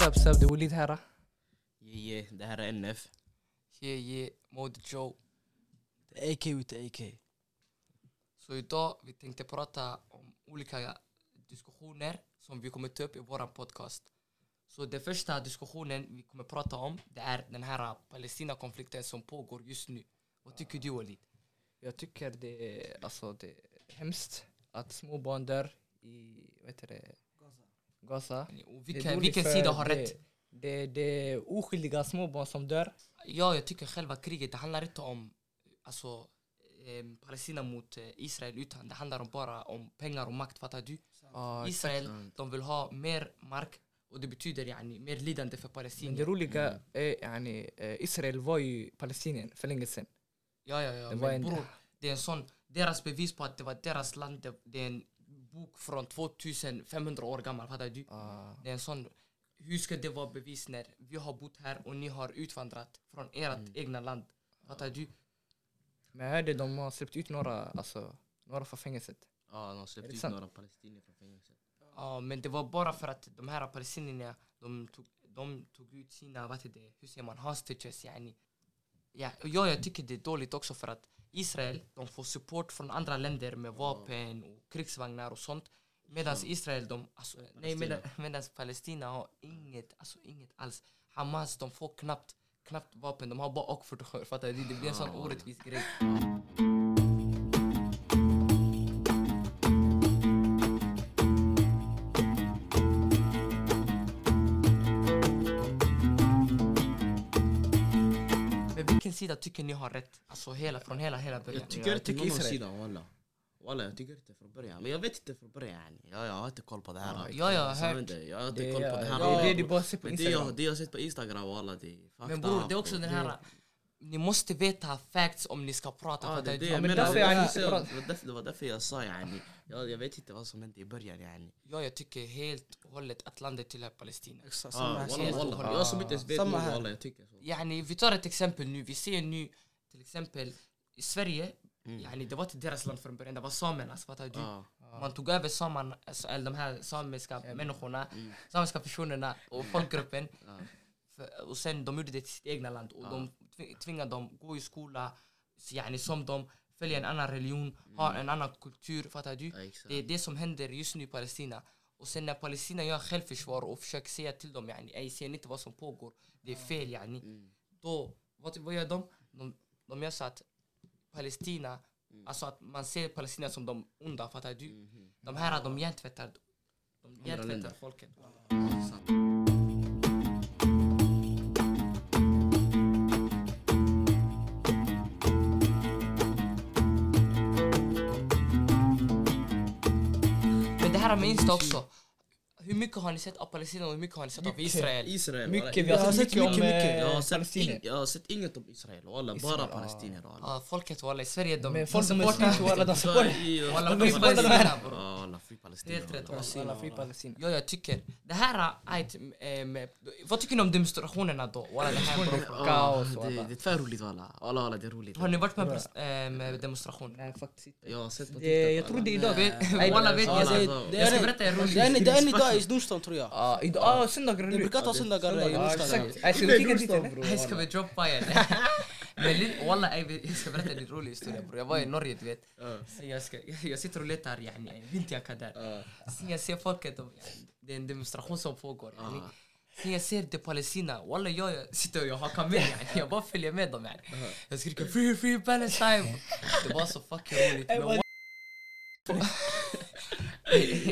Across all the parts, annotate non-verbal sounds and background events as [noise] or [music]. ساب ساب ده وليد هرا يه يه ده هرا ان اف Hier, je, mode Joe. AK وت AK Så idag vi tänkte prata om olika diskussioner som vi kommer ta upp i vår podcast. Så den första diskussionen vi kommer prata om det är den här Palestina-konflikten som pågår just nu. Vad tycker du Walid? Jag tycker det är, alltså, det är hemskt att små barn dör i vad heter det? Gaza. Och Det är vilken, dåligt vilken för sida har det- rätt? Det, det är oskyldiga små barn som dör. Ja, jag tycker själva kriget det handlar inte om alltså, eh, Palestina mot eh, Israel utan det handlar om bara om pengar och makt, fattar du? Ja, Israel, de vill ha mer mark och det betyder yani, mer lidande för Men det Palestina. roliga är yani, eh, Israel var ju Palestinien för länge sedan. Ja, ja, ja. Det var Men en- bror, det är en sån, deras bevis på att det var deras land, det, det är en bok från 2500 år gammal, fattar du? Ah, Det är en sån, hur ska det vara bevis när vi har bott här och ni har utvandrat från ert Mm. egna land? Fattar du? Men jag hörde de har släppt ut några, alltså, några från fängelset. Ja, de har släppt Är det ut sant? några palestinier från fängelset. Ja, men det var bara för att de här palestinierna, de tog, de tog ut sina, vad heter det, hur säger man, hostages yani. Ja, och jag, jag tycker det är dåligt också för att Israel, de får support från andra länder med vapen och krigsvagnar och sånt. Medan Mm. Israel, de, alltså, nej medan, [laughs] medans Palestina har inget, alltså inget alls. Hamas, de får knappt, knappt vapen, de har bara och 47 fattar du? Det blir en Ah. sån orättvis grej. Men vilken sida tycker ni har rätt? Alltså hela, från hela, hela början. Jag tycker jag inte tycker någon Israel. sida walla. Walla jag tycker inte från början. Men jag vet inte från början yani. Ja, jag har inte koll på det här. Ja, ja, jag har Som hört. händer. Jag har Det, inte är- koll på det här. det är det du bara ser på Men det jag, Instagram. det jag sett på Instagram walla det är fucked Men bror, up, det är också den här... Ni måste veta facts om ni ska prata. Ja, fattar det du? är det Ja, jag men menar. därför Det var jag inte därför jag- det var därför- Det var därför jag sa yani. Jag, jag vet inte vad som hände i början yani. Ja, jag tycker helt och hållet att landet tillhör Palestina. Exakt, samma Ja, här. walla samma här. walla. Jag som inte ens vet Samma nu här. walla jag tycker så. Yani, vi tar ett exempel nu. Vi ser nu till exempel i Sverige, yani, det var inte deras land från början, det var samernas. Fattar du? Ja. Man tog över saman, alltså, eller de här samiska människorna, mm, samiska personerna och folkgruppen. För, och sen de gjorde det till sitt egna land och de tvi- tvingade dem gå i skola, så yani, som de följa en annan religion, ha en annan kultur. Fattar du? Ja, exakt. Det är det som händer just nu i Palestina. Och sen när Palestina gör självförsvar och försöker säga till dem, yani, ej ser ni inte vad som pågår? Det är fel yani. Mm, Då, vad, vad gör de? de? De gör så att Palestina, Mm. alltså att man ser Palestina som de onda, fattar du? mhm. De här, de hjärntvättar, de hjärntvättar länder. folket. Men det här med Insta också. Hur mycket har ni sett av Palestina och hur mycket har ni sett av Mycket. Israel? Israel walla. Mycket, vi har Jag har sett sett mycket om mycket, mycket. eh, Jag har, sett Palestina. in, jag har sett inget om Israel walla, bara palestinier walla. Ja, folket walla i Sverige de... Men de folk som är supportar- slut walla, de [laughs] Så supportar. i- Walla, Ja, free Palestina. Palestina, bro. Ja, walla, free Palestina. Helt rätt, walla. walla. Alla fri Palestina. Ja, jag tycker. Det här, ajt, ehm, vad tycker ni om demonstrationerna då? Walla, det här, bro. Ja, Kaos, det, walla. det är för roligt walla. Walla walla det är roligt. Har ni varit på en pres- ehm, demonstration? Nej, faktiskt inte. Jag har sett på Det- Jag TikTok, tror det är Jag idag. vet- [laughs] Nej, Walla vet Ja, Ja, jag. det- alltså. det Jag är ska en- berätta en rolig det är en- Det är en idag i historia. Snurstan tror jag. Ja, idag. Ah, söndagar är Vi det. brukar ta söndagar i Ja, Snurstan. exakt. Nej, Ska vi kika dit eller? Jag ska vi droppa igen? Men li- walla, ey, vi- jag ska berätta en rolig historia bror. Jag var i Norge du vet. آه، Så Jag, ska, jag sitter och letar yani, en vinterjacka آه، där. Sen jag ser folket, de- det är en demonstration som pågår. آه. Yani. Sen jag ser det Palestina, walla jag, jag sitter och jag hakar med yani. Jag bara följer med dem yani. Jag skriker free free Palestine. Det var så fucking roligt. Men vad- [laughs]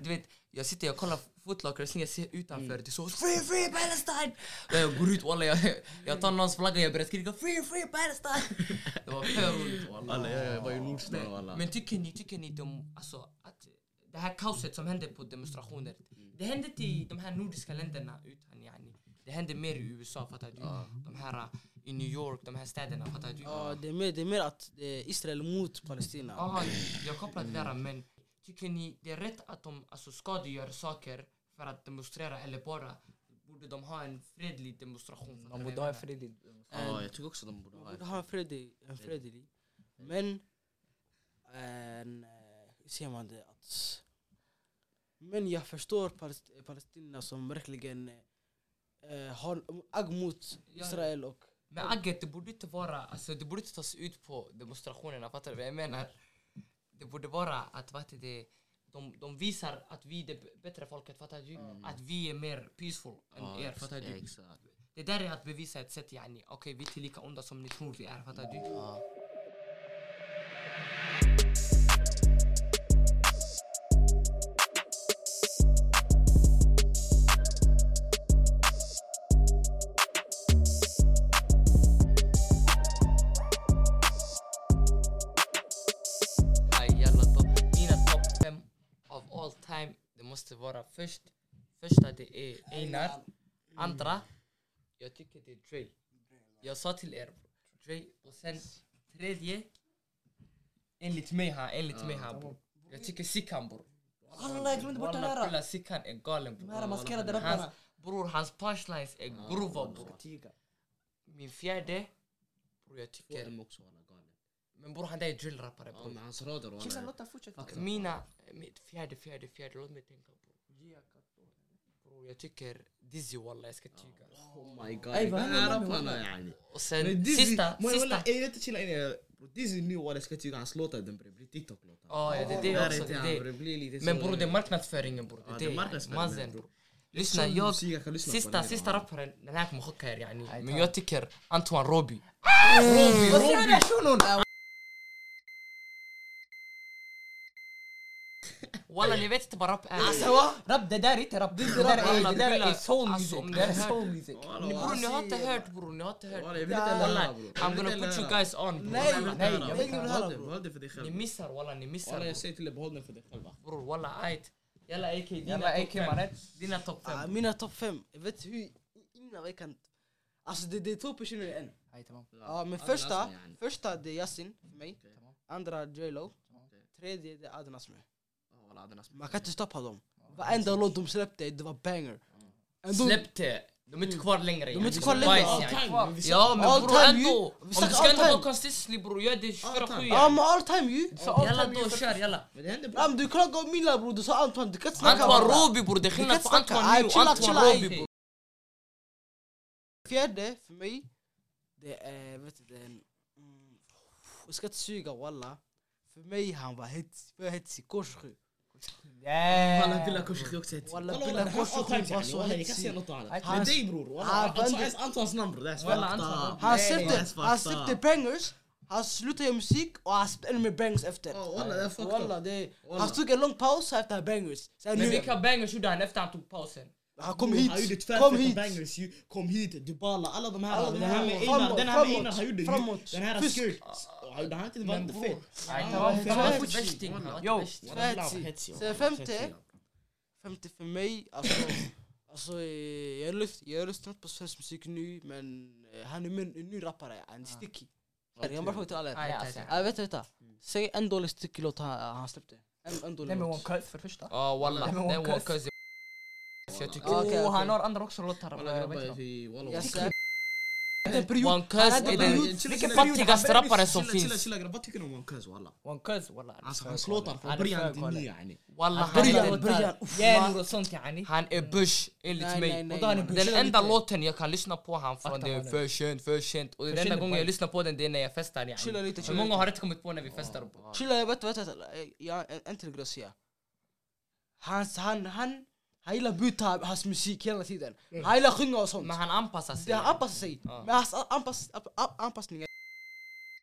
du vet, jag sitter jag kollar Footlocker sen jag ser utanför det står Free Free Palestine! Och jag går ut walla jag, jag tar någons flagga och jag börjar skrika Free Free Palestine! Det var för roligt walla. Alla, jag jag var i Nordstan walla. Men tycker ni, tycker ni de, alltså, att det här kaoset som hände på demonstrationer, det hände inte i de här nordiska länderna utan yani, det hände mer i USA fattar du? De här uh, i New York, de här städerna fattar du? Ja, det är mer- det är mer att det är Israel mot Palestina. Ja, Ah, jag kopplade det där men tycker ni det är rätt att de alltså, skadegör saker för att demonstrera eller bara borde de ha en fredlig demonstration? Man borde ha en fredlig... Ja, jag tycker också de borde ha Man borde ha en fredlig, en fredlig. Men, en, eh, hur säger man det? Att Men jag förstår Palest- Palestina som verkligen eh, har agg mot Ja. Israel och Men agget, det borde inte vara, alltså det borde inte tas ut på demonstrationerna, fattar du vad jag menar? Det borde vara att, vad heter det, de, de visar att vi är det b- bättre folket, fattar du? Att vi är mer peaceful än Mm. Ja, er, fattar du? Exakt. Det där är att bevisa ett sätt, yani, okej vi är inte lika onda som ni tror vi är, fattar du? Aj, jalla då. Mina topp fem of all time, det måste vara först, första det är Einar, andra, jag tycker det är Dre. Jag sa till er, Dre, och sen tredje, enligt mig här, enligt mig här bror. Jag tycker Sickan bror. Alla jag glömde bort den Walla här! kulla Sickan är galen De här bror. maskerade Hans, rapparna! bror, hans punchlines är grova bror. Tiga. Min fjärde, bror jag Två tycker, M också walla galet. men bror han där är drillrappare Ja bror. men hans rader Killar walla. låt den fortsätta. Fuck. Mina, mitt fjärde, fjärde, fjärde, låt mig tänka bror. Bror jag tycker Dizzy walla, jag ska tyga. Oh my god. Ey, vad Den här händer med rapparna yani. Och sen Men Dizzy- sista, Walla, sista. walla, ey, vänta, chilla in, ey. Bro, Dizzy nu walla ska tycka hans låtar den börjar bli TikTok-låtar. Ja, ja, det är Där det är också. Det han, är det. bro, det blir lite Men så, bror det är eh, marknadsföringen bror. آه، Ja, Det det är är marknadsföringen, mazen bror. bror. Lyssna Sån jag, musik kan lyssna på sista, den, sista ja. rapparen, den här kommer chocka er yani. Men jag tycker Antoine Roby. Vad säger den shunon? Walla ni vet inte vad rap är. Alltså, Rap, det där är inte rap. Det där där är- är, det där är soul soul music. music. Det där är soul music. Walla, ni, walla. bror ni har inte hört bror, ni har inte hört. Walla, jag vill inte lära bror. Jag I'm vill gonna inte put you lära. guys on bror. Nej, Jag vill inte nej, lära, jag bror. vill inte Behåll höra, det, bror. behåll det för dig själv. Ni missar walla, ni missar Walla bror. jag säger till dig behåll den för dig själv. bror. Walla ajt. Jalla AK, Jalla, dina AK, topp fem. mannen. Dina topp Ah, fem. Mina topp fem, jag vet hur innan jag kan... Alltså det, det är två personer i en. Ja, men Adnan första, Asmi, yani. första det är Yasin för mig. Tamam. Andra J Lo. Okej. Tredje det är Adnan Asmi. Ja, walla, Adnan Asmi. Man kan inte stoppa dem. Varenda låt de släppte, det var banger. Ändå- Släppte. De är inte kvar längre. är inte kvar längre. All yani. time, men vi Ja all men bror time, ändå. you- Om vi du snackar ska all ändå vara time. consistent bror, gör det 24-7 time. Ja yani. men all time ju! Jalla då kör jalla. Men det händer Ja bra. men du klagar om Milla bror, du sa Antoine, du kan inte snacka Antoine om det. Roby bror, det är kan skillnad på snacka. Antoine Aj, Nu och chilla, Antoine chilla, Roby aj. bror. Fjärde för mig, det är, vet du den... mm, Jag ska inte suga walla. För mig han var hets, för hetsig, korssky. Walla Villa Koshki också heter Walla, Walla, walla, Villa det här är Koshki all time, var yani. så Walla, jag hetsig. kan säga något annat. Han- Men dig bror, walla. Ah, Antons- vänta. Antons namn bror, det är Walla, fakta. Anton Roby. Han Nej, det släppte, är fakta. han släppte bangers, han slutade göra musik och han släppte ännu mer bangers efter. Ja, walla, det är fucked up. Walla, det, Walla. han tog en lång paus efter bangers. Sen Men nu, vilka bangers gjorde han efter han tog pausen? han kom Han gjorde hit, tvärfeta kom hit. bangers ju. Kom hit, Dybala, alla de här. Alla de den här här. med Einar, Framåt, den här med framåt, Einar, han gjorde ju. framåt. Den här Fusk. Skurk. Ah, Han hade inte varit bror. fet. Nej, Ah, han var- fet. han var Fet. inte värsting, han var inte Yo. värsting. Walla, han var Fet. hetsig. Sen femte. Femte för mig, alltså, alltså eh, jag, lyft, jag har lyssnat på svensk musik nu men eh, han är min- en ny rappare, han är sticky. Jag bara sjunger till alla. Aj, aj, aj. Jag vet vänta, säg en dålig sticky-låt han, han släppte. En, en dålig Nej men one låt. cut för första. Ja walla, Nej, men det One var Cuz. Cuz. Jag tycker... Ja, okej, Och han okej. har andra också låtar. Walla eh, grabbar, vet jag du. fick- walla, Jag walla. släppte en period. One Cuz han hade är en Walla, den period- chilla, vilken chilla, fattigaste chilla, rapparen som chilla, finns. Chilla, chilla grabbar, vad tycker ni om One Cuz walla? One cuz walla. Alltså hans låtar från början till nu yani. Walla Han han börjar är Början, låtar. början, uff. Järnor och sånt yani. Han är bush enligt Nej, nej, mig. nej, Och då är det nej. bush. Den Bushar enda lite. låten jag kan lyssna på han från Akta det är mannen. för sent, för sent. Och den enda sent, gången jag boy. lyssnar på den det är när jag festar Chilla yani. lite, Men chilla många lite. har inte kommit på när vi festar bror. Chilla, jag vet, vänta, vänta. Eh, Jag en- en till grej att säga. Hans, han, han, han gillar att byta hans musik hela tiden. Han gillar att sjunga och sånt. Men han anpassar sig. Det han anpassar sig. Ja. Men hans anpass, anpass, anpassningar.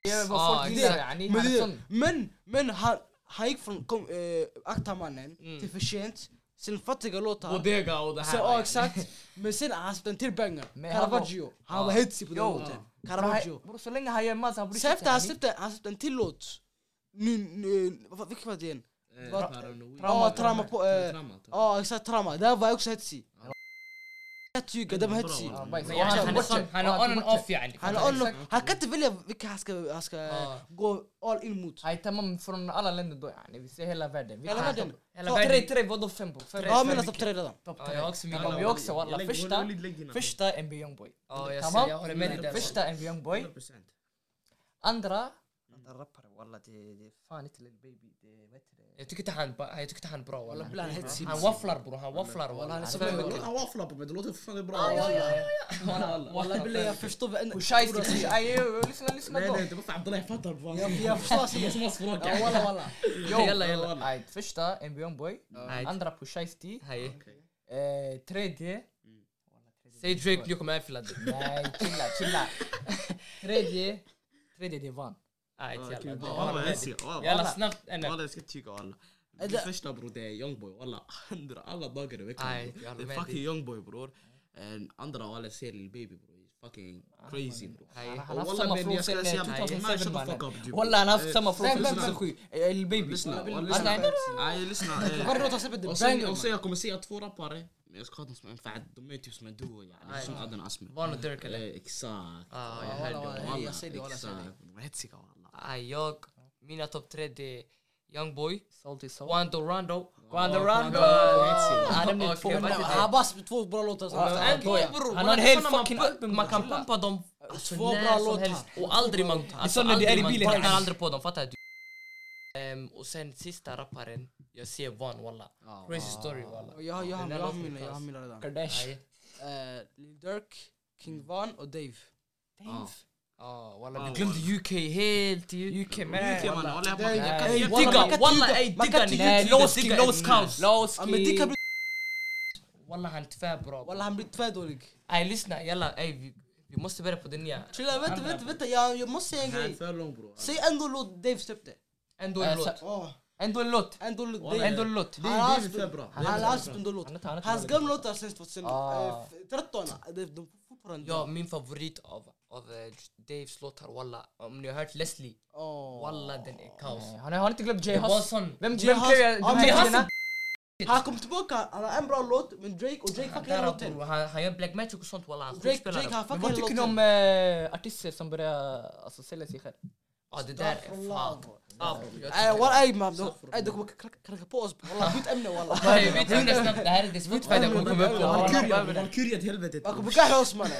Det är Ja, vad folk exakt. gillar yani. Men, Han är det- sån. men, men han, han gick från kom, eh, Akta mannen Mm. till För sent, sen Fattiga låtar. Bodega och det här. sen, ja, yani. exakt. Men sen han spelade en till banger. Men han var- Caravaggio. Ja. Han var hetsig på den Jo. låten. Men han- Caravaggio. Bror så länge han gör massa han bryr Sen sig inte efter han yani. släppte, han släppte en till låt. Nu, nu, vad- vilken var det igen? Eh, Vad- Paranoid. Ja, Trama på... eh, Trama, trama. Ja, exakt Trama. Där var jag också hetsig. Jag tycker, den var Bra, hetsig. bra. Ja, bajs. Men jag- Han är sån- han Oh, آه، är on and off yani. Han, Fattar du? har on- han kan inte välja vilka han ska, han ska Ja. gå all in mot. Nej tamam från alla länder då yani. Vi ser hela världen. Vi Hela kan- världen. Hela Topp världen. tre, tre vadå fem bror? Fem, Ja, fem, mina vilka? topp tre redan. Topp Ja, tre. jag har också mina. Kom ju också walla. Jag lägger- Första, Walid, lägg dina. första en Beyond Boy. Oh, Ja, jag Tamam? ser, jag håller med dig där. Första en Beyond Boy. 100%. Andra den rapparen walla det, det är fan inte Lil Baby, det vet du det. Jag tycker inte han, ba- jag tycker inte han är bra Walla walla. bland hetsig Han wafflar bror, han wafflar walla. han är Han så är bra. fem- والله وافلة بابا دلوقتي في فن برا Walla, Walla billah jag förstår varenda... Och Scheisse, aj, aj, lyssna, lyssna لا då. لا انت بس عبد الله يفتر Jag jag förstår sig. بس مصر Ja, رجع Walla walla. Jo, Jalla, jalla. Ajt, första NBN boy, Ajt. andra på Shiesty, Hej. eh, tredje... Walla, tredje- Säg Drake, jag kommer äffla dig. Nej, chilla, [laughs] chilla. tredje, tredje det är Van. Ajt, والله jalla. ما اسيا والله Jalla snabbt ännu. والله اسكت تشيكا والله أدا- فشنا برو ده يونج بوي والله اندرا الله ضاقر بك أي، يلا ما فاكي دي. يونج بوي برو اندرا والله سير البيبي برو فاكينج كريزي برو هاي. أنا حلفت والله سما من فروق يسكت سنة سيام 2007 ما معنا. شط فك والله أنا Eh, حلفت سما فروق فاهم، سنة فاهم، فاهم. 2007 Eh, البيبي لسنا أنا لسنا اي eh. لسنا Varje låt har släppt det اوصي banger. اوصي كومسية تفو راباري بس كنت اسمع ينفع دميتي اسمع دو يعني شنو قادر اسمع Van och Dirk eller? إيه، اكساك Ah, Eh, Ja, jag hörde. والله والله. والله Jag säger det, والله säger اكساك ما هتسيكا والله Aj, jag, mina topp tre det är Young Boy, Salty Soul. Wando Rondo. Oh, Wando Rondo! Ah, de blir Okej, två. vad Men- heter Han har bara släppt två bra låtar. så- Walla, أه، آه، en Alltså, gång. okej. Han har en hel fucking album, album. Man kan killar. pumpa dem så Två bra när som låtar. helst. Och aldrig man... som när det är i aldrig man bilen. taggar aldrig på dem, fattar du? Ehm, och sen sista rapparen, jag ser Van walla. Crazy آه. story walla. Jag har- jag har Den där jag har låten mina, jag har klass. mina redan. Kardashian. Aj. Eh, Lil Durk, King Van och Dave. آه. Ja walla, Ah, vi glömde walla. UK helt. ju. UK man. يوكي مان ولا ده- إيه، أي يا تيجا. Digga, walla ey Man digga kan ni. inte Nej, ljuga. Loski, Los Cows. Ja men det kan bli... Walla han är tvärbra. Walla han blir tvärdålig. Ey lyssna, jalla ey vi- vi måste börja på den nya. Chilla vänta vänta vänta jag, jag måste säga en grej. برو Säg en då låt Dave släppte. Ändå en Äh, låt. Åh, Ändå en låt. En då låt Walla, Dave. Ändå en låt. Han har Dave är bra. släppt- han har släppt en då låt. Han har- han har- Hans gamla låtar sen آه، Ah. 2013. De de är fortfarande... Ja, min favorit av, av eh, Daves låtar, walla. Om ni har hört Leslie, Åh. walla den är kaos. Nej, Han har inte glömt Jay Det er var Huss. sån... Vem Jay vem Huss. clear Ja, de här men Huss- killarna? Han kom tillbaka, han har en bra låt men Drake och Drake Han, fuckar hela där, låten. bror, han, han gör black magic och sånt walla, han Drake, skådespelar. Drake han Men fuckar vad hela tycker ni om låten. eh, artister som börjar alltså, sälja sig själv? Ja, Ah, det där är fan... Ja, bror, Eh, jag Nej tycker- walla ey man, de kommer knacka på oss walla, byt ämne walla. Nej, [laughs] vi tar nästan- Det er här är det Spotify där kommer komma upp. walla. الكوريا دي هلبتت Man kommer gaha oss mannen.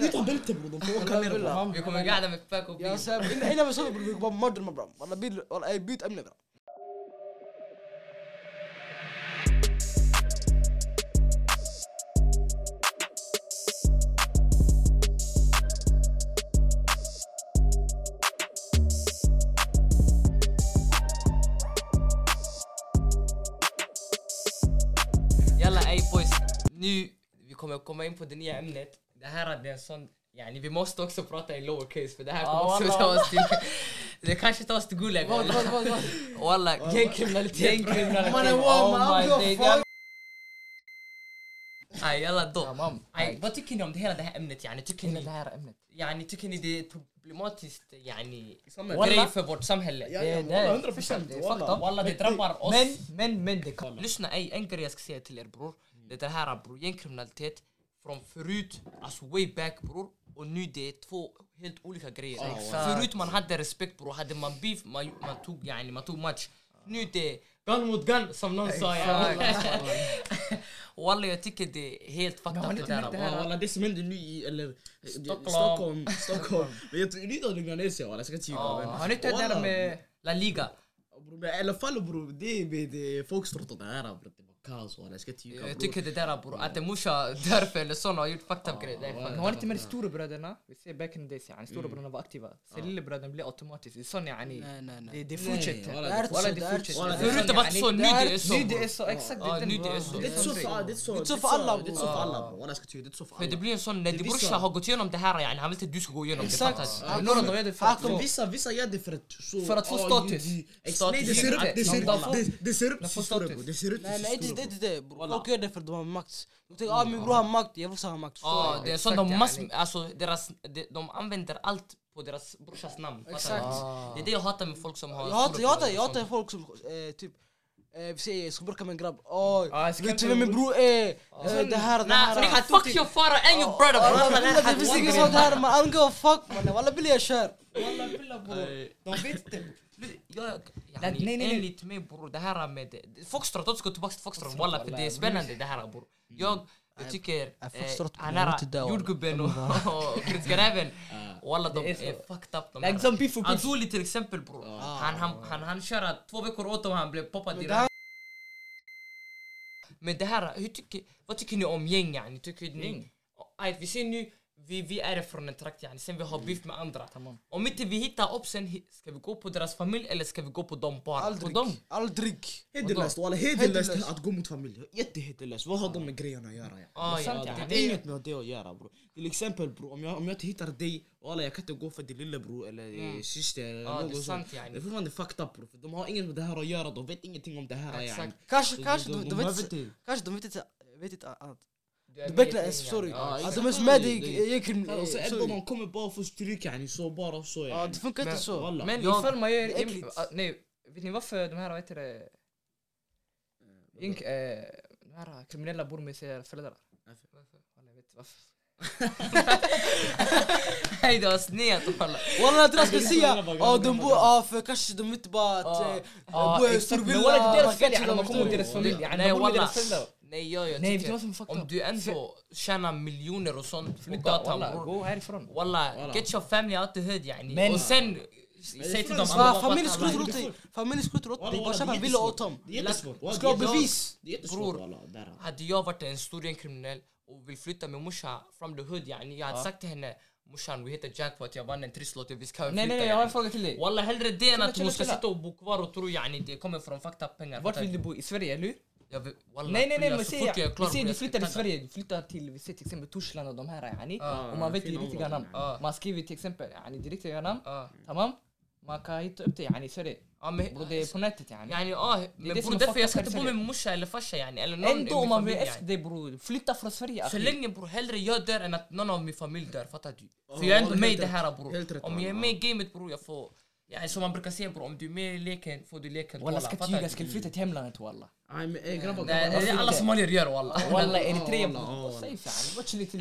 دي طبلت برو ده فوق والله كاميرا بالله. Vi kommer gadda med fuck och Jag bil. säger innan- innan vi sover bror, vi går bara modern med bram. Walla bil, walla ey byt ämne bram. Jalla ey boys, nu vi kommer komma in på det nya ämnet. Det här hade en sån, yani vi måste också prata i lower case för det här kommer Ja, också wallah, ta oss till... [laughs] Det kanske tar oss till Gulag Vad, vad, vad, [laughs] vad? walla. Gängkriminalitet. [laughs] Gängkriminalitet. Mannen Oh my walla, day, I'm your Aj jalla då. Tamam. Aj, vad tycker ni um, om det hela det här ämnet يعني yani? Tycker Hela det ni, här ämnet. yani, tycker ni det är problematiskt يعني yani, والله grej Wallah. för vårt samhälle? Det är والله där. 100% Det är fucked والله up. Walla det drabbar oss. Men, men, men det kan. Lyssna ey, en grej jag ska säga till er bror. Det är det här bror, gängkriminalitet från förut, alltså way back bror. Och nu det är två helt olika grejer. Ja, Exakt. Förut man hade respekt bror, hade man beef, man, man, tog, yani, man tog match. Nu det är gun mot gun som någon sa yani. [laughs] Walla jag tycker det är helt fucked up det där. bror. والله دي سمند ني ال Stockholm. ستوكholm ستوكholم هي تريد الاندونيسيا والله سكت تشيكا Har ni inte hört det här med... La Liga. برو على فالو برو دي بدي فوق شرطه دارا برو كاز والله سكت Jag تشيكا tycker det där bror, att det morsa därför eller såna har gjort fucked up grejer. Det är Ja, Men fucked up. har ni inte med de storebröderna? Vi ser back in the days, يعني yani storebröderna var aktiva. Sen lillebröderna blev automatiskt. Det är sån yani. Nej nej nej. Det det fortsätter. walla, Walla det Det är så, det är fortsätter. så. Det är Förut det sån var yani. så, Nu det nu det är så, bror. är så, exakt. Ja, den nu det bra. är så. Det är så det är så Det är så för alla bror والله سكت det är så för För det alla blir en sån, när din Det är brorsa så. har gått igenom det här yani, han vill inte att du ska gå igenom det. Exakt. fattar du? Ja. Några av dem är det för طيب، Ah, att kom, få- Vissa, vissa gör det för att... Så, För att få status. Nej, det ser upp, det ser upp, det- det ser upp De till får stora status. bror. Det ser upp Nej till nej stora det är inte det bror. Walla. Folk gör det för att de har makt. De tänker ah min bror har makt, jag vill också ha makt. Ja, det är en sån, de, Exakt, mass, yani. alltså, deras, de, de använder allt på deras brorsas namn. fattar Exakt. du? Det är det jag hatar med folk som har Jag hatar, jag hatar, storebror jag och hatar sånt. folk som eh, typ eh, vi säger ska bråka med en grabb. Oj, Ja, jag ska vet du inte- vem min bror är? Eh, Det här, det Nej, här. för ni kan fuck your father and your brother Walla, bror. walla, Det finns inget sånt här man, I don't give a fuck mannen. Walla Billy jag kör. De vet inte. Jag, Nej, yani, nej, nej. enligt mig bror, det här med Foxtrot, låt oss gå tillbaka till Foxtrot walla för det är spännande det här Mm. bror. Jag, jag tycker, Foxtrot, eh, bror, jag vet inte det, Anara, walla. [laughs] [laughs] jordgubben och och prinsgraven Walla de Det är så. är fucked up de Like här. some people could Azuli till exempel bror. Ja. Han, han, han, han köra två veckor åt dem han blev poppad Men det här- direkt. Men det här, hur tycker, vad tycker ni om gäng yani? Tycker ni? Gäng? Ajt, vi ser nu, vi, vi är från en trakt yani, sen vi Mm. har beef med andra. Tamam. Om inte vi hittar oppsen, hi- ska vi gå på deras familj eller ska vi gå på dem bara? Aldrig. På dem? Aldrig. Hederlöst walla, hederlöst att gå mot familjen. Jättehederlöst. Vad har de med grejerna att göra? ja? Ah, Det är ja, sant, det, yani. det, Det är är- inget med det att göra bror. Till exempel bror, om jag, om jag inte hittar dig, walla jag kan inte gå för din lillebror eller eh, Mm. syster eller ja, det är något sånt. sant Det är yani. fortfarande fucked up bror, för de har inget med det här att göra, de vet ingenting om det här. Exakt. yani. Kanske, De- kanske, de- de, de de vet behöver inte, inte- kanske de vet inte, vet inte annat. Du är Det med bättre i än gäng, story. yani. Ja, exakt. Alltså de är som med Det- det- dig, jag kan... Och så en sorry. av dem kommer bara få stryk yani, så bara så Ja, yani. det funkar inte Men- så. Walla. Men jag, Ifall man gör... Det är äckligt. Ah, Nej, vet ni uh, varför de här, vad heter det? Ink, eh, de här kriminella bor med sina föräldrar. Varför? Walla, jag vet inte varför. [laughs] nej det var [laughs] snett walla. Walla jag tror jag ska Det är säga, inte så jävla ja gamla de bor, ja för kanske de inte bara att... Ja. eh, Ah, bo i en exakt, stor men villa, walla, det är deras man fel kan yani, man chilla kommer med till deras dem. familj. yani, Nej de bor med walla. deras föräldrar. Nej jag, jag Nej, vet du tycker vad som är fucked om up? du ändå tjänar miljoner och sånt, flytta Gå- åt honom Walla, bror. gå härifrån. Walla, Walla. get your family out the hood yani. Men- Och sen, det säg är till dem fan- Va, andra Familjen pappa, skulle alla- tro åt dig, familjen skulle tro åt dig, bara köpa en villa åt dem. Det är jättesvårt. Walla, Ska ha det är- bevis. Det är jättesvårt Bror. walla. där, alltså. Hade jag varit en stor kriminell och vill flytta med morsan from the hood يعني. yani, jag hade sagt till henne morsan vi hittar jackpot, jag vann en trisslott, vi ska flytta Nej, nej, nej, jag har en yani." fråga till dig. Walla hellre det än Chilla, att hon chilla, ska chilla. sitta och bo kvar och tro yani det kommer från fakta pengar. Vart vill du bo? I Sverige, eller hur? Jag vill, walla, Nej nej nej bror, men så säg, fort jag är klar, vi säger bror, du jag ska flyttar till tagga. Sverige, du flyttar till, vi säger till exempel Torslanda och de här yani. Ja, och man vet fina riktiga namn. områden, ja. Man skriver till exempel yani det riktiga namn, Ja. tamam? Man kan hitta upp det yani i Sverige. Ja, men, Bror det är på nätet yani. آه، يعني اه det men som är bror därför jag ska fuckat inte bo här i med morsa eller farsa yani eller någon i Ändå om min man vill familj efter yani. det bror, flytta från Sverige alltså. Så akhi. länge bror, hellre jag dör än att någon av min familj dör, fattar du? För jag Ja, är ändå helt med i det rätt. här bror. Helt rätt, Om jag är ja. med i gamet bror, jag får... Yani som man brukar säga bror, om du är med i leken får du leken Walla tåla, ska fattar inte ljuga, du? ska du flytta till hemlandet walla. Nej men eh, grabbar, Nej, Varför det är alla inte? somalier gör walla. Walla Eritrea walla, ja, bror, walla. safe yani. Vad chilligt till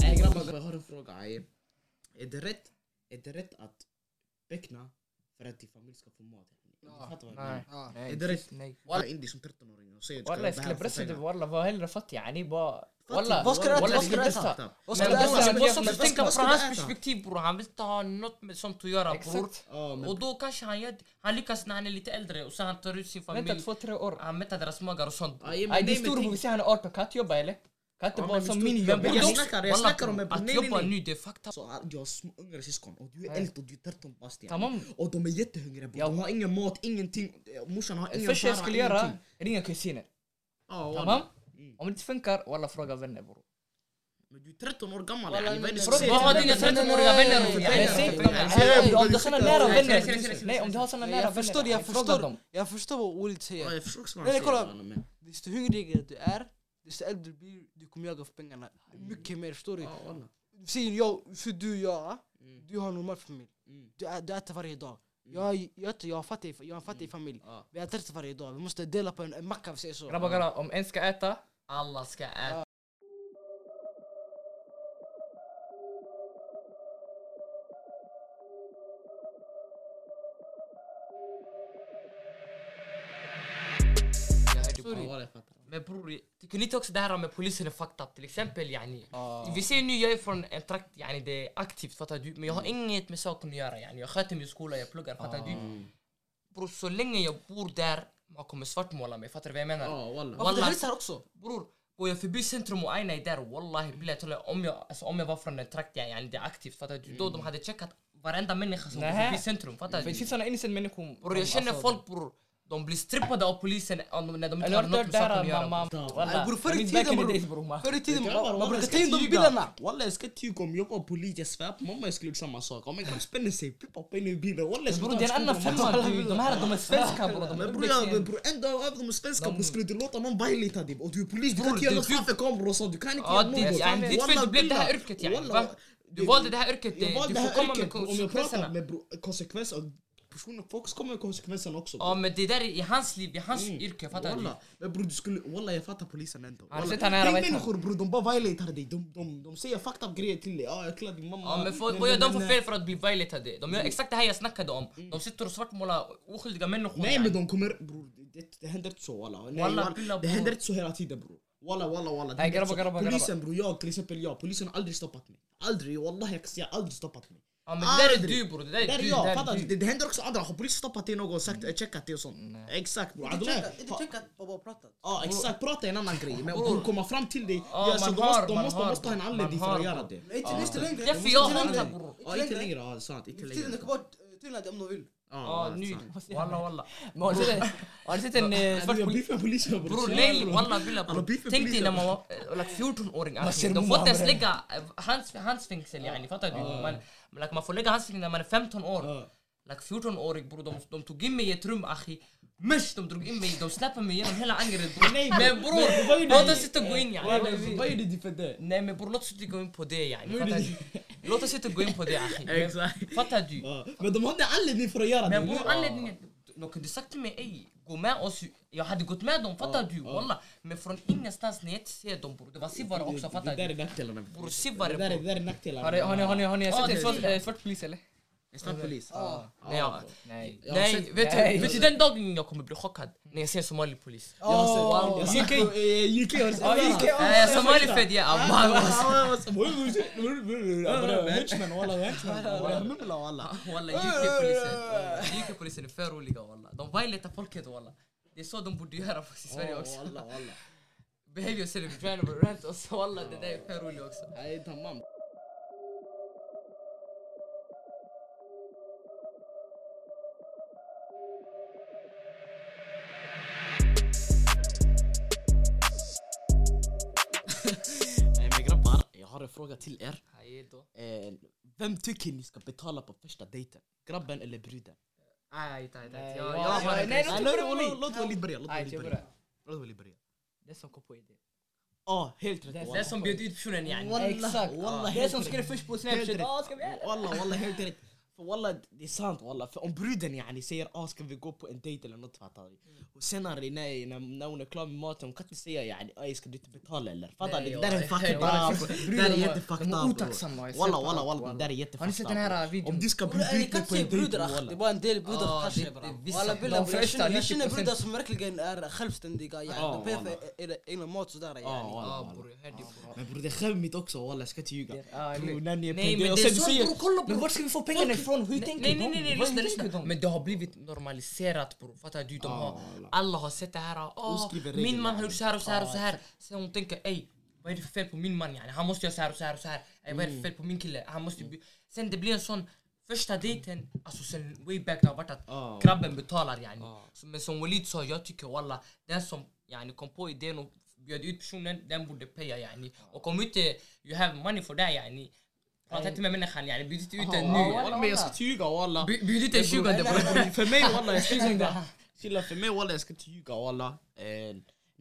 Nej grabbar, jag har en fråga. Aj. Är det rätt, är det rätt att beckna för att din familj ska få mat? Du fattar vad jag menar. Nej. Ja. Nej, Är det rätt? Nej. Walla indie som 13-åring och säger Walla jag skulle pressa dig walla, var hellre fattig yani bara. Walla, Vad ska du äta? walla, Vad det ska du är bästa. äta? Vad ska Men du Men äta? alltså, brorsan, men- brorsan men måste vad tänka ska- från vad hans ska du äta? perspektiv bror, han vill inte ha något med sånt att göra bror. Exakt. Och då kanske han gör Han lyckas när han är lite äldre och sen han tar ut sin Vänta familj. två, tre år. Han mättar deras magar och sånt. Aj, Nej, men din nej storbror, vi men säger han är 18, kan inte jobba eller? Kan inte Ja, bara men som min stor- minijobb. Men yani. jag Dock, snackar, jag walla, snackar om- bror, nej, Att nej, jobba nej. nu, det är fucked up. så här, jag har små yngre syskon och du är Nej. äldst och du är 13 bast yani. Tamam. Och de är jättehungriga bror, Ja. de har ingen mat, ingenting. Eh, Morsan har Det ingen första jag skulle göra, ingenting. ringa kusiner. Ja, walla. Tamam? Mm. Om det inte funkar, walla fråga vänner bror. Men du är 13 år gammal Walla, yani, vad är det men- som säger Vad har till dina dig? nej, nej, 13-åriga nej, vänner nej, för nej, Men nej, säg nej, pengar? till dem, nej, nej, alltså, nej, om du har nej, såna nej, nära nej, nej, vänner. nej, nej, Nej, om du har såna Nej, nära Jag vänner. förstår, yani, jag Fråga dem. förstår. Jag förstår vad Walid säger. Ja, jag förstår också vad Nej, han nej, kolla. säger. walla, men- Desto hungrigare du är, desto äldre du blir, du kommer jaga för pengarna. Mycket mer, förstår du? Ja, walla. Säg jag, för du och jag, Mm, du har en normal familj. mm, Du, ä- du äter varje dag. Mm. Jag, jag, äter- jag har fattig, jag har en fattig familj. ja. Vi äter inte varje dag, vi måste dela på en, en macka, vi säger så. Grabbar, grabbar, om en ska äta, Alla ska äta. Jag hörde Ja, på- walla, jag fattar. Men bror, tycker ni inte också det här med polisen är fucked up? Till exempel yani. ah, Vi ser nu, jag är från en trakt, yani det är aktivt fattar du? Men jag har inget med saken att göra yani. Jag sköter min skola, jag pluggar fattar du? Mm. Bror, så länge jag bor där, man kommer svartmåla mig, fattar du vad jag menar? Ja, walla. Varför det Wallah. hälsar också? Bror, går jag förbi centrum och aina är där wallahi billahi taala, om jag, alltså, om jag var från en trakt yani, yani det är aktivt fattar du? Då de hade checkat varenda människa som går Nähä. förbi centrum fattar för det du? finns såna innocent människor. Bror jag känner alltså, folk bror, de blir strippade av polisen om de- när de inte Eller har har du något hört med det saken att här göra. mamma? bror. Walla, Bror, förr i jag minns back in tiden, the bror. days, bror. man. Förr i tiden, Grabbar, man man walla, brukar jag ta ska in de ljuga. bilarna. Walla jag ska inte ljuga, om jag var polis jag svär på mamma jag skulle gjort samma sak. Om en grabb spänner sig, pippa upp henne i bilen. Walla jag Bror skulle det är en annan skogen. femma. du. De här de är svenska bror. De är Men bror jag, uppväxta- bror en dag av dem är svenska bror skulle du låta någon bajlita dig? Och du är polis, du kan Bror, inte göra det- något du- framför kameror och sånt. Du kan inte Ja, göra det- något. ja, det är ditt fel, Walla, du blev det här bilar. yrket, yani, Walla, va? Du valde det här yrket, jag det- valde du det får här komma med yrket. Om jag pratar konsekvenserna. med bror, konsekvenser, personen, folk ska med konsekvenserna också. Ja men det där är i hans liv, i hans Mm. yrke, fattar du? Walla. Men bror du skulle, walla jag fattar polisen ändå. Har du Walla. sett han här, Det är vad heter människor bror, de bara violatar dig. De, de, de säger fucked up grejer till dig. Ja jag killar din mamma. Ja men folk, Nej, vad gör nej, de för nej. fel för att bli violatade? De gör exakt det här jag snackade om. De sitter och svartmålar oskyldiga människor. Nej men yani. de kommer, bror det, det händer inte så walla. Nej, Walla, walla. pilla det på. händer inte så hela tiden bror. Walla walla walla. det Nej, händer grabbar, inte så. grabbar, grabbar. Polisen bror, jag till exempel jag. Polisen har aldrig stoppat mig. Aldrig, wallahi jag kan säga aldrig stoppat mig. Ja men det där är Aldrig. du bror, det där Där är är du. det jag, där fattar är du? du. Det, det händer också andra, har polisen stoppat dig något och sagt eh, checkat dig och sånt? Exakt bror. Inte Abdullah, checkat- inte fa- checkat, bara pratat. Ja exakt, prata är en annan grej. Men bror komma fram till dig, Ja, ja, så man de måste, har- de man måste, har, måste ha en man anledning för har, att göra bror. det. Nej, inte, inte längre. Därför jag har Inte alla längre. bror. Ja inte längre, ja sant. Inte Inte längre. De längre. kan bara eh, tyna dig om de vill. Ja Ja nu, sant. walla walla. Men har du sett en- har du sett en... eh, Bror svart jag polis- beefar polisen Bror nej walla billa Alla beef bror. med Tänk dig när polisen. man var eh, like, 14-åring. alltså. ser De man får inte med ens det? lägga eh, hands- يعني، handsfängsel yani, fattar du? Man- men, like, Man får lägga handsfängsel när man är 15 år. Ja. Like 14-årig bror, de, de tog in mig i ett rum achi. Mösch, de drog in mig, de släppte mig genom hela Angered bror. Nej, Men vad bror, gjorde låt ni? oss inte gå in Walla, yani. Vad gjorde du för det? Nej men bror, låt oss inte gå in på det yani. gjorde fattar du? Låt oss inte gå in på det achi. Men- Exakt. Fattar du? Ja, Men de hade anledning för att göra det. Men bror anledningen, de kunde sagt till mig ey, gå med oss. Jag hade gått med dem, fattar du? Walla. Men från ingenstans när jag inte ser dem bror, det var Sivare också, fattar Det där är du? nackdelarna. Bror Det där är- Sivare det där är Har ni- nackdelarna. har ni- har ni- har ni Ja, sett det en är svart- det. eh, svart polis eller? En snabb polis. Ja. Nej, ja. Nej. Jag har Nej, sett- vet du, Nej. vet du den dagen jag kommer bli chockad? När jag ser en somalisk polis. Jag har sett- Åh, jag snackar om, eh, UK har sett- Ja, UK. Jag är somalifödd, jag är mamma. Henchman walla, henchman walla. Mumla walla. Walla, UK-polisen. UK-polisen är för roliga walla. De violatar folket walla. Det är så de borde göra faktiskt i Sverige också. Walla walla. Behave yourself, drive and rent och så walla, det där är för roligt också. Nej tamam. إيه، Nej men grabbar, jag har en fråga till er. Hej då. Eh, Vem tycker ni ska betala på första dejten? Grabben eller bruden? Nej, nej, nej. Nej, Jag jag- jag آه، har jag- en nej, grej. låt- Låt- Låt Walid börja. låt Nej, Walid jag börja. börjar. Låt Walid börja. Det som kom på idén. آه، Ja, helt rätt. Det är Det wallah. som bjöd ut personen يعني yani. Wallah, Exakt. wallah, Det helt som rätt. skrev först på Helt Snapchat. rätt. Ja, ska vi آه، göra det? Walla walla helt rätt. För walla det är sant walla. För om bruden yani säger ah ska vi gå på en dejt eller något fattar du. Och senare när, när, när hon är klar med maten hon kan inte säga yani ej ska du inte betala eller. Fattar du? Nej, Det där är walla. fucked Walla, up. först- Det där är bruden, jättefucked up. de är bro. otacksamma, jag ser Walla på walla allt, walla det där är jättefucked up. Har ni sett den här Om videon? du ska bli Bror, ey, bjuden jag kan inte på en säga dejt brudar ach. Det är walla. bara en del brudar Ja, kanske det- bra. det- vissa- Walla bilder de bror, jag flesta, känner- jag känner 90%. brudar som verkligen är självständiga. yani. Ja, De pekar walla. för era egna mat sådär. Ja yani. walla. Ja walla. bror, jag hörde bror. Men bror det är skämmigt också walla jag ska inte ljuga. Ja, Bror, nu. När ni är på Nej, en men dejt och det är sen du så, säger bror, kolla Men bror. vart ska vi få pengarna ifrån? Hur tänker Nej, nej, de? nej, nej, Vad tänker lyssna, lyssna. de? Men det har blivit normaliserat bror, fattar du? De har, alla. Ah. alla har sett det här, Och åh, skriver min regler, man har yani. gjort så här och så här och så här. Sen hon tänker, ey, vad är det för fel på min man yani? Han måste göra så här och så här och så här. Ey, vad är det Mm. för fel på min kille? Han måste bli... Sen det blir en sån, första dejten, alltså sen way back det har varit att Ah. Ja. grabben betalar yani. Så, men som Walid sa, jag tycker walla, den som yani kom på idén och bjöd ut personen, den borde paya yani. Ah. Och om inte you have money for that yani, prata inte med människan yani, bjud inte ut Ah, den nu. yani. Walla men jag ska inte ljuga walla. [laughs] [laughs] By- Bjud ut den tjugonde bror. För mig [laughs] walla, jag ska inte ljuga. Chilla, för mig walla, jag ska inte ljuga walla. Eh,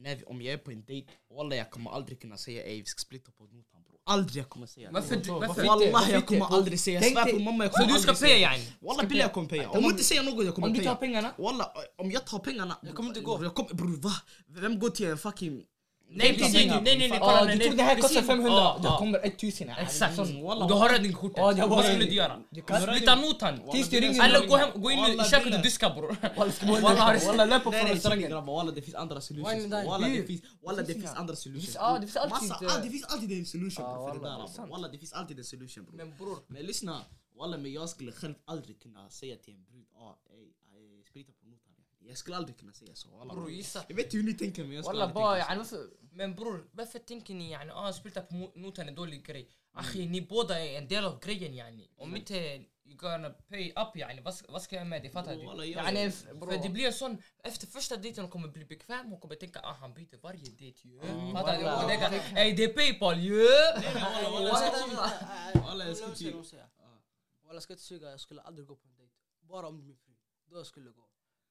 när vi- Om jag är på en dejt, walla jag kommer aldrig kunna säga ej vi ska splitta på notan bror. Aldrig jag kommer säga det. Varför du- varför inte? Wallah Varför jag inte? kommer aldrig säga, jag Tänk svär på dig- mamma jag Så kommer du aldrig ska säga paya det. yani? Walla billig jag kommer paya. Om hon inte säger något jag kommer Om paya. du tar pengarna? Walla om jag tar pengarna. Jag kommer inte gå. Jag kommer, bror va? Vem går till en fucking... Nej precis, nej nej nej, nej kolla Ja, nej du nej. tror det här kostar Precis. 500? Ja, Det ja. kommer 1000. ja. Exakt. Sån, Och wallah. du har räddningskortet. Ja, det var- Vad skulle du göra? Du kan- Splitta notan. Tills du ringer Eller någon. gå hem, gå in i Wallah, köket och bilen. diska bror. Walla har du Wallah, löp upp Nej, från nej, restaurangen. sorry, grabbar, walla det finns andra Wine and solutions. dine. Walla det Ju. finns, walla det finns finns inga. andra solutions. Ja, det finns alltid, Massa, eh, ah, det finns alltid en solution Ja, bro, för det wallah, där. det är sant. Walla det finns alltid en solution bro. Men bror. Men lyssna, walla men jag skulle själv aldrig kunna säga till en brud, ah ey, ey, sprita på notan. Jag skulle aldrig kunna säga så. Walla. Bror gissa. Jag vet inte hur ni tänker men jag skulle Wallah, aldrig bara, tänka يعني yani, så. varför- Men bror varför tänker ni yani ah splitta på mo- notan är dålig grej? Akhi ni e, båda är en del av grejen yani. Om inte you gonna pay up yani vad ska- vad ska jag med det fattar du? Walla, jag- يعني För det برو blir en sån, efter första dejten hon kommer bli bekväm och kommer tänka ah han byter varje dejt ju. Mm, Fattar du? wallah. Och tänka ey det är Paypal ju. Walla, walla, jag Walla, ska- jag ska- Walla, jag ska Walla, tyga. jag ska- Walla, jag ska inte suga. Jag skulle aldrig gå på en dejt. Bara om det är min fru. Då jag skulle gå.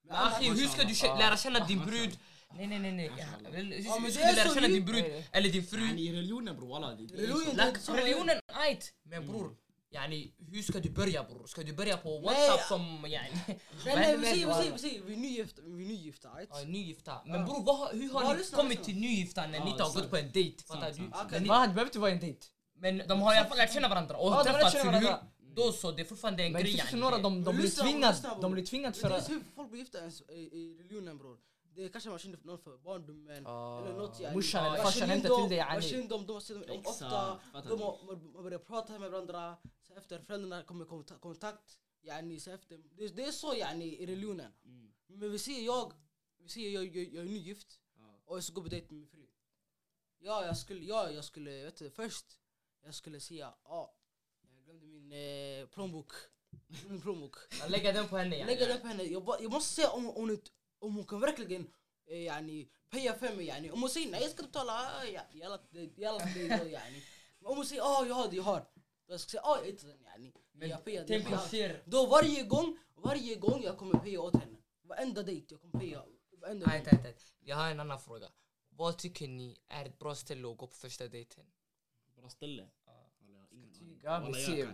Men annars- Akhi hur ska du kä- lära känna din brud? Nej nej nej nej. Ja, men Hur det ska du är lära så känna din djupt. brud eller din fru? يعني Yani, religionen bror walla. det- det är så. Religionen, det Like, är inte så- Mm. religionen, ajt. Men bror, يعني hur ska du börja bror? Ska du börja på Nej, WhatsApp som yani? [laughs] Nej Men- nej vi säger, vi säger, vi säger, vi är nygifta, vi är nygifta right? Ja, nygifta. Men bror vad, har- hur har Ja, ni lyssna, kommit lyssna. till nygifta när Ja, ni inte har sant. gått på en dejt? Fattar du? Sant, sant, sant. Men Okej. ni- Va, det behöver inte vara en dejt. Men de har i alla fall lärt känna varandra och Ja, de har lärt träffats, känna eller hur? varandra. Då så, det är fortfarande en Men det grej. finns också yani. några de, de blir Lyssna, lyssna, tvingade, bror. de blir tvingade Vet du för ens att... hur folk blir gifta ens i, i religionen bror? Det är kanske man känner någon för barndomen Ah, آه، eller något yani. morsan eller Man farsan känner inte till dem, det, yani. Man känner dem, de har sett dem Exakt, ofta, fattar de du? har, man- man börjar prata med varandra, så efter föräldrarna kommer konta- kontakt, yani så efter, det, det är så yani i religionen. Men vi säger jag, vi säger jag, jag, jag är nygift och jag ska gå på dejt med min fru. Ja, jag skulle, ja, jag skulle, vet du, först, jag skulle säga, ja, jag glömde min eh, plånbok. Min plånbok. Jag lägger den på henne Jag yani. lägger upp henne, jag, bara- jag måste se om, om, hon- om hon kan verkligen eh, yani, paya för mig yani. Om hon säger nej jag ska betala, ah, ja, jalla det- jalla det är då yani. Men Om hon säger ah jag har det, jag har. Då ska jag säga ah jag hittar den yani. Men Jag payar Tänk den. hur ser... Då varje gång, varje gång jag kommer paya åt henne. Varenda dejt jag kommer paya. Varenda Nej, gång. nej, nej. Jag har en annan fråga. Vad tycker ni är ett bra ställe att gå på första dejten? Bra ställe. Ja, vi ser.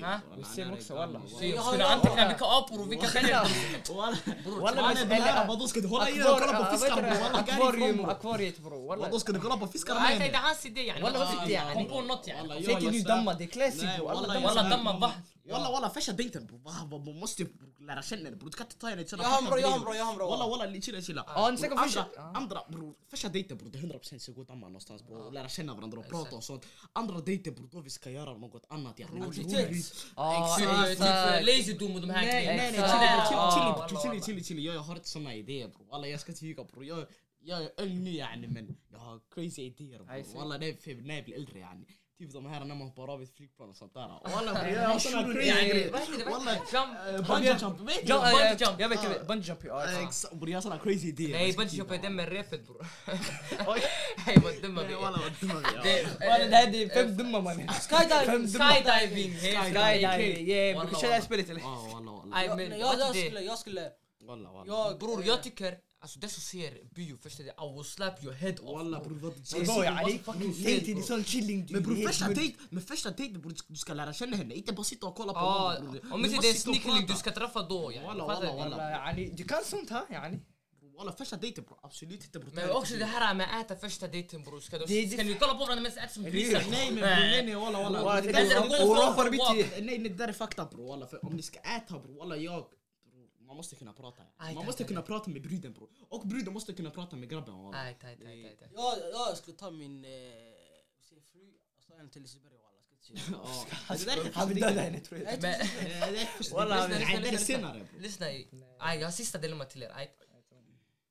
Ha? Vi ser också, wallah. Så jag har skulle en alltid fråga. kunna vilka apor och vilka [laughs] människor. Walla men eller vadå ska du hålla i dig och kolla på fiskar bror? Walla Akvarium, garifrån akvariet bror Vadå walla. ska du kolla på fiskar Nej, nej, med det är hans idé yani. Walla, Vad vad tycker idé, ni? yani? Kom på något yani. Walla, Säg till nu damma, det är Nej classic walla bror. والله jag- دمك بحر. Walla walla färsta dejten bror. Va, va, Man måste ju lära känna det bror. Du kan inte ta henne till Jag har en bra, jag har en bra, jag har en bra. Walla walla li- chilla chilla. Ja, ni snackar Bror, första- andra- Andra bror, första dejten bror det är 100% så går damma någonstans bror. Och lära känna varandra och prata och sånt. Andra dejten bror då vi ska göra något annat. yani. Aktivitet. Ja, exakt. Lazydom och de här Nej, Nej nej Exakt. chilla Ja, chilla walla, chilla chilla chilla chilla. Jag jag har inte såna idéer bror. Walla jag ska inte ljuga bror. Jag jag är ung nu yani men jag har يعني crazy idéer I bror. see. Walla det är för när jag blir äldre yani. Typ de här när man hoppar av ett flygplan och sånt där. [laughs] Walla bror jag har såna crazy يعني. grejer. Walla bungee jump. Vet du? Ja, ja, Bungee ja, jump. jag vet, jag vet. Bungee jump, آه، ja. Ja, exakt. Exakt, bror jag har såna crazy idéer. Nej, Jag ska bungyjump är skriva, den med repet bror. [laughs] Nej, vad dumma vi walla. är. Walla vad dumma vi är. Walla, Det här det är fem dumma mannen. Skydiving. Skydiving! helt Skydiving, yeah bror. Kör Walla, det här walla. spelet eller? Ja, walla walla. Nej, Jag, men jag, vad jag det- skulle, jag skulle. Walla walla. Jag, eh, Bror, jag tycker... Alltså det som ser bio första dejten, I will slap your head off. Walla bror vad Bror vad- yani, fucking tänk fel, dig det är bror. sån chilling Men bror du första dejt, men första dejten bror du ska- du ska lära känna henne, inte bara sitta och kolla på آه. Ja, honom, om bror. Du inte måste det är sitta och snickling du prata. ska träffa då yani. Walla, Fattar walla, du? walla. Yani, du kan sånt här yani. Walla första dejten bror, absolut inte bror. Men också det här med äta första dejten bror. Ska Det- de- det- ska ni kolla på varandra medan ni äter som Eller grisar? hur? Nej men bror, nej nej walla walla. Walla, Det det där där- är- Eller gå Och för- rofar mitt i. Nej nej det där är fakta bror walla, för om ni ska äta bror walla jag bror, man måste kunna prata. Aj, Man tack, måste tack, kunna prata med bruden bror. Och bruden måste kunna prata med grabben walla. Aj, aj, aj, aj, aj. jag, jag skulle ta min eh, säg fru och ta henne till Liseberg walla. Ska [laughs] inte säga. Ja, det där är första Han vill dejten. döda henne tror jag. Men Nej, det är första Walla, dejten. lyssna, lyssna, Nej, det är lyssna. senare bror. lyssna, aj, jag har sista dilemmat till er. Aj.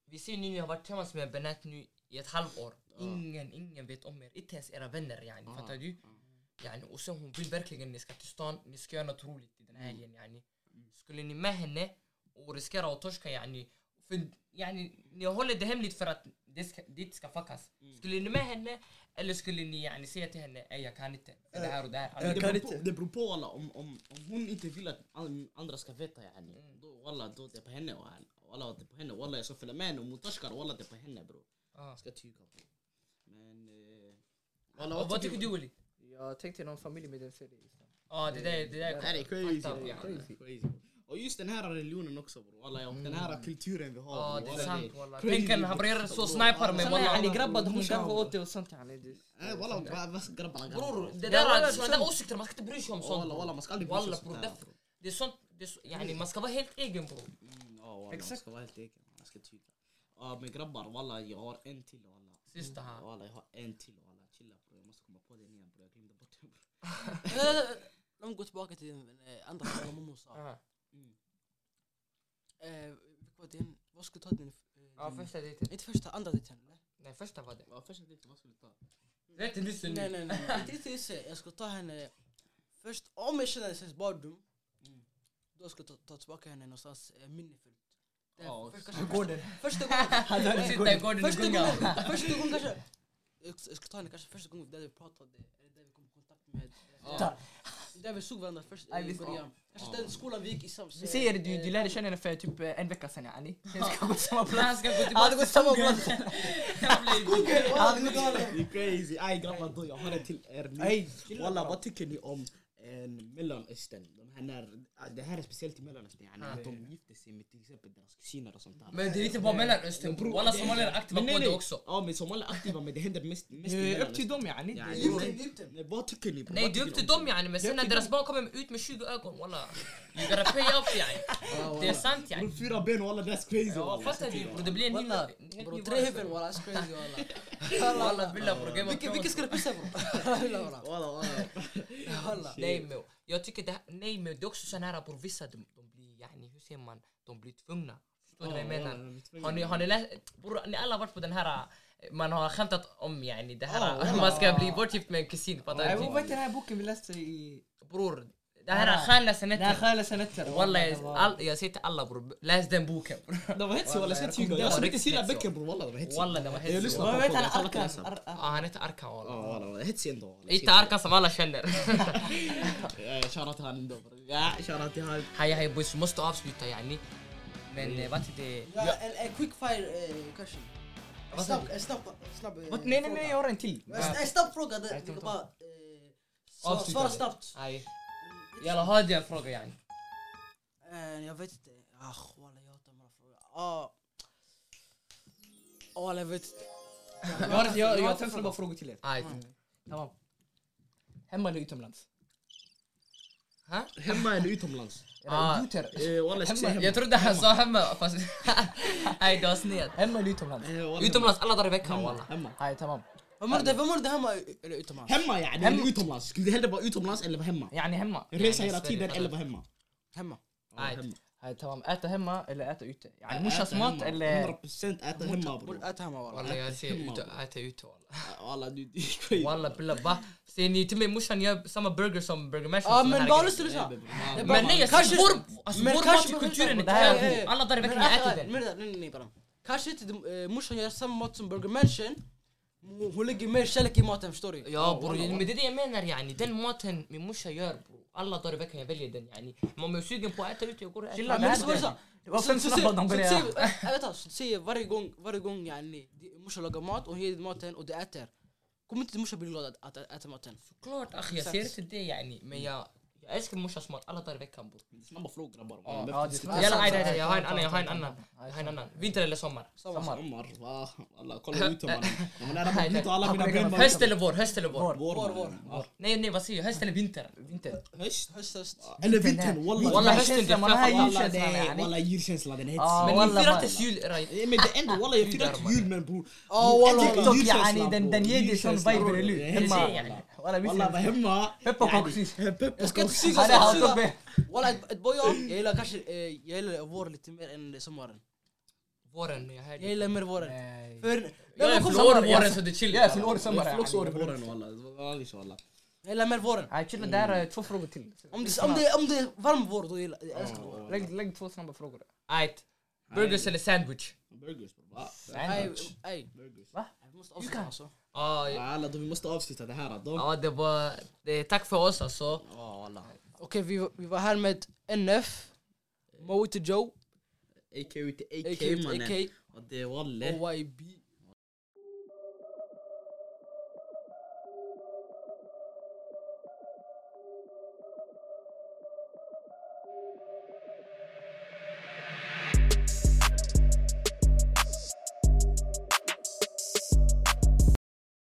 Vi ser nu, ni har varit tillsammans med Benat nu i ett halvår. Ingen, ingen vet om er. Inte ens era vänner yani, fattar du? Yani, och sen hon vill verkligen ni ska till stan, ni ska göra något roligt i den Mm. här helgen yani. Skulle ni med henne och riskera att torska yani, för, yani, ni håller det hemligt för att det, ska, det inte ska fuckas. Mm. Skulle ni med henne eller skulle ni yani, säga till henne, ej jag kan inte, för det här och det här. [laughs] Jag kan Det beror, inte. på, det beror på alla. Om, om, om hon inte vill att an- andra ska veta yani. Mm. Då walla, då det är på henne och han. Walla, det är på henne. Walla, jag ska följa med henne. Om hon torskar, walla, det är på henne bror. Ah. Jag ska tyga på. Men... Eh, walla, Vad tycker du Wally? Jag tänkte någon familj med den serien. Ja, det där, det där Det här är crazy. Fucked up, يعني. bror. ja. Crazy. bror. Och just den här religionen också bror. Walla, och den här kulturen vi har. Ja, bror. det är Walla, sant walla. crazy, Tänk en bror. habrerare så sniper med Såna yani walla. grabbar de garvar åt dig och sånt yani. det- Eh, Walla, vad- vad ska grabbarna Bror, grabbarna? det Ja, där walla, är sådana sant. där åsikter, man ska inte bry sig om sånt. Walla, walla, man ska aldrig bry sig Walla om bror, sånt det, här, bror. det är sånt, det är så, yani, man ska vara helt egen bror. Mm, Ja, walla, man Exakt. ska vara helt egen. Man ska tyga. Ja, men grabbar, walla, jag har en till walla. Sista här. Walla jag har en till walla, chilla bror. Jag måste komma på den igen bror. Jag glömde bort den bror. Nej, nej, nej. [laughs] Låt mig gå tillbaka till den eh, andra frågan mamma sa. Ja, Eh, vilken var din- Vad skulle du ta din... eh, Mm. din- första dejten. Inte första, andra dejten eller? Nej, första var det. Ja, första dejten, vad ska vi ta? Det är inte nyss nu. Nej nej nej. nej. Inte Isse, jag skulle ta henne först, om jag känner henne sen barndom. Mm. Då ska jag ta, ta tillbaka henne någonstans eh, minnefullt. Det är Ja, för- så- kanske- Gården. [laughs] Första gången, Hon sitter i gården och första gången, gungar. [laughs] första gången kanske. Jag ska jag ska ta henne kanske första gången där vi pratade, eller där vi kom i kontakt med. آه. Ta. Där vi såg varandra först Ja, eh, i visst. början. Kanske den skolan vi gick i sam- Vi säger du, eh, du lärde känna henne för typ eh, en vecka sedan yani. Sen ska jag gå till samma plats. Han ska gå Ja, det tillbaka går till samma [laughs] plats. Det är crazy. Aj grabbar, då, jag har en till er nu. Ey, Walla, vad tycker ni om en mellanöstern. De här när, ah, det här är speciellt i mellanöstern. Yani, Ja. att de gifter sig med till exempel deras kusiner och sånt där. Men det är inte bara Mellanöstern bror, alla somalier är aktiva Men nej, på det nej. också. Ja men somalier är aktiva men det händer mest, mest i Eh, Upp mellanöstern. till dem yani. يعني Ja, Det- jo. Egypten, Egypten. Nej, Vad tycker ni? Nej det är upp till dem yani, men sen när deras barn kommer ut med 20 ögon walla. You gotta pay up يعني. [laughs] yani. Det är sant yani. Fyra ben och alla that's crazy. Ja fattar du bror, det blir en ny... Walla, en helt Bro, ny tre huvuden varelse. walla, it's crazy [laughs] walla. Walla billah bror, Game of Vilken Thrones. vilken ska du pissa [laughs] bro? Walla, walla. Walla walla. Walla. Nej men jag tycker det här, nej men det är också sån här bror, vissa de, de blir yani, hur säger man, de blir tvungna. Förstår du vad jag menar? Har ni, har ni läst, bror ni alla varit på den här, eh, man har skämtat om yani det [laughs] här, man ska bli bortgift med en kusin, fattar Nej, du? vad heter den här boken vi läste i... Bror, det här är Khala Den här Senetter. Khala Senetter. Walla, jag- all- jag säger till alla bror, läs den boken. bror. De var hetsiga walla, sett Hugo. Det Jag var som inte riktigt gillar hetsiga. böcker bror walla de var hetsiga. Walla den var Jag hetsig. lyssnar Vad på heter folk, han? alla kan läsa. Arkan? Ar- Ja, Ar- han heter Arkan Ja walla. walla walla, hetsig ändå walla. Inte Arkan som alla [laughs] känner. Eh, Shoutout till han ändå bror. Ja, shoutout till han. Hej hej boys, vi måste avsluta yani. Men eh, vad heter det? Ja, en, en quick fire eh, question. En Vad snabb, en snabb, en snabb eh, Nej, nej, nej, jag fråga. har en till. En- En snabb fråga, det- tänkte det ta. bara... eh, svar- Avsluta Svara det. snabbt. Nej. Jalla, har du en fråga yani? Eh, Jag vet inte. Ach walla, jag hatar de här frågorna. Ah. Ah, walla, jag vet inte. Jag har, jag, jag har fem snabba frågor till er. Aj. Tamam. Hemma eller utomlands? Ha? Hemma eller utomlands? يعني Ah. Idioter. Eh, Walla jag ska säga Hemma. hemma. Jag trodde han sa hemma fast... Nej det var snett. Hemma eller utomlands? Eh, walla, Utomlands alla dagar i veckan walla. Hemma. Nej, tamam. Vad menar du? Vad menar du hemma eller utomlands? Hemma yani, eller utomlands. Skulle det hellre vara utomlands eller vara hemma? يعني Yani hemma. Resa Nej, hela Sverige, tiden fattar eller du? vara hemma? Hemma. Ja, Nej. hemma. Nej, tamam. Äta hemma eller äta ute? يعني Yani morsans Äta mat hemma. eller... 100% äta hemma Borde bror. äta hemma walla. Walla jag ser hemma, ut bro. och äter ute walla. Walla du, det är crazy. Walla billa va? Ser ni till mig morsan gör samma burger som Burger Mash? och Ja sån här men bara grej. lyssna, إيه، lyssna. Man- Jag bara- Men nej alltså Kanske- vår, alltså, men vår kanske- matkulturen är det här- eh, där. Alla dagar i Men veckan [laughs] jag äter äta, den. men nej nej nej bara. Kanske inte de- eh, morsan gör samma mat som Burger Mansion. Hon hon lägger mer kärlek i maten förstår du. Ja bror, men det är det jag menar yani. Den maten min morsa gör bror. Alla dagar i veckan jag väljer den yani. Men om jag är sugen på att äta ute, jag går och äter. Chilla, Men men lyssna, lyssna. Det var Så- fem så snabba säger- de så började... säger- äh, Vänta, så säger varje gång, varje gång yani, det- morsan lagar mat och ger maten och du äter. Kommer inte morsan bli glad att, att, att äta maten? Klart ach, jag ser inte det yani. Men jag, jag älskar morsans mat alla dagar i veckan bror. Snabba frågor grabbar. Ja, Ja, آه، Man det är behöver sant. Jalla aj, aj, aj, jag har en annan, jag har en annan. Jag har en annan. Vinter eller sommar? inte- Sommar, va? Alla, kolla ut [laughs] mannen. Jag var nära på Nej, nej. att alla mina ben var Höst eller vår? Höst eller vår? Vår. Vår, Vår, mannen. Ja. Nej nej vad säger jag? Höst eller vinter? Vinter. Höst? Höst, höst. Eller vintern, walla. Walla, Walla, hösten, Man har det är ju känslan يعني. nej, yani. walla djurkänsla آه، den är Ah, hetsig. Men Walla, ni firar walla. inte jul right? Nej, Men det är ändå walla, jag firar Judar, inte jul men bror. Ja, walla, Ändå TikTok, julkänsla, يعني yani, den- bror. den ger dig sån Julkänsla, vibe, bror. eller hur? Det är Hemma. Hemma. yani. Walla, vi Walla, ses. var hemma. Pepparkakor precis. Jag ska inte suga, Hade jag han ska inte uppe. suga. Walla, ett ett boja. Jag gillar kanske, eh, jag gillar vår lite mer än sommaren. Våren, jag hör Jag dig. gillar mer våren. Nej. För, när Jag är man kommer- förlorad våren så det är chill. Jag är från år Jag sommar. är också yani. år i våren walla. Walla, walla. jag gillar mer våren. Nej, chilla. Det här är två frågor till. Om det, om det, om det är varm vår, då gillar jag älskar vår. Lägg, lägg två snabba frågor. Ajt. Burgers eller sandwich? Burgers bror. va? Nej, Sandwich. nej. Burgers. Vi måste avsluta alltså. Ja, ja. Alla, då vi måste avsluta det här. då. Ja det var, det, tack för oss alltså. آه، Okej, vi, vi var här med NF, Moe to Joe, AK ut till a.k.a. AK mannen. AK, Och det är Walle. OYB.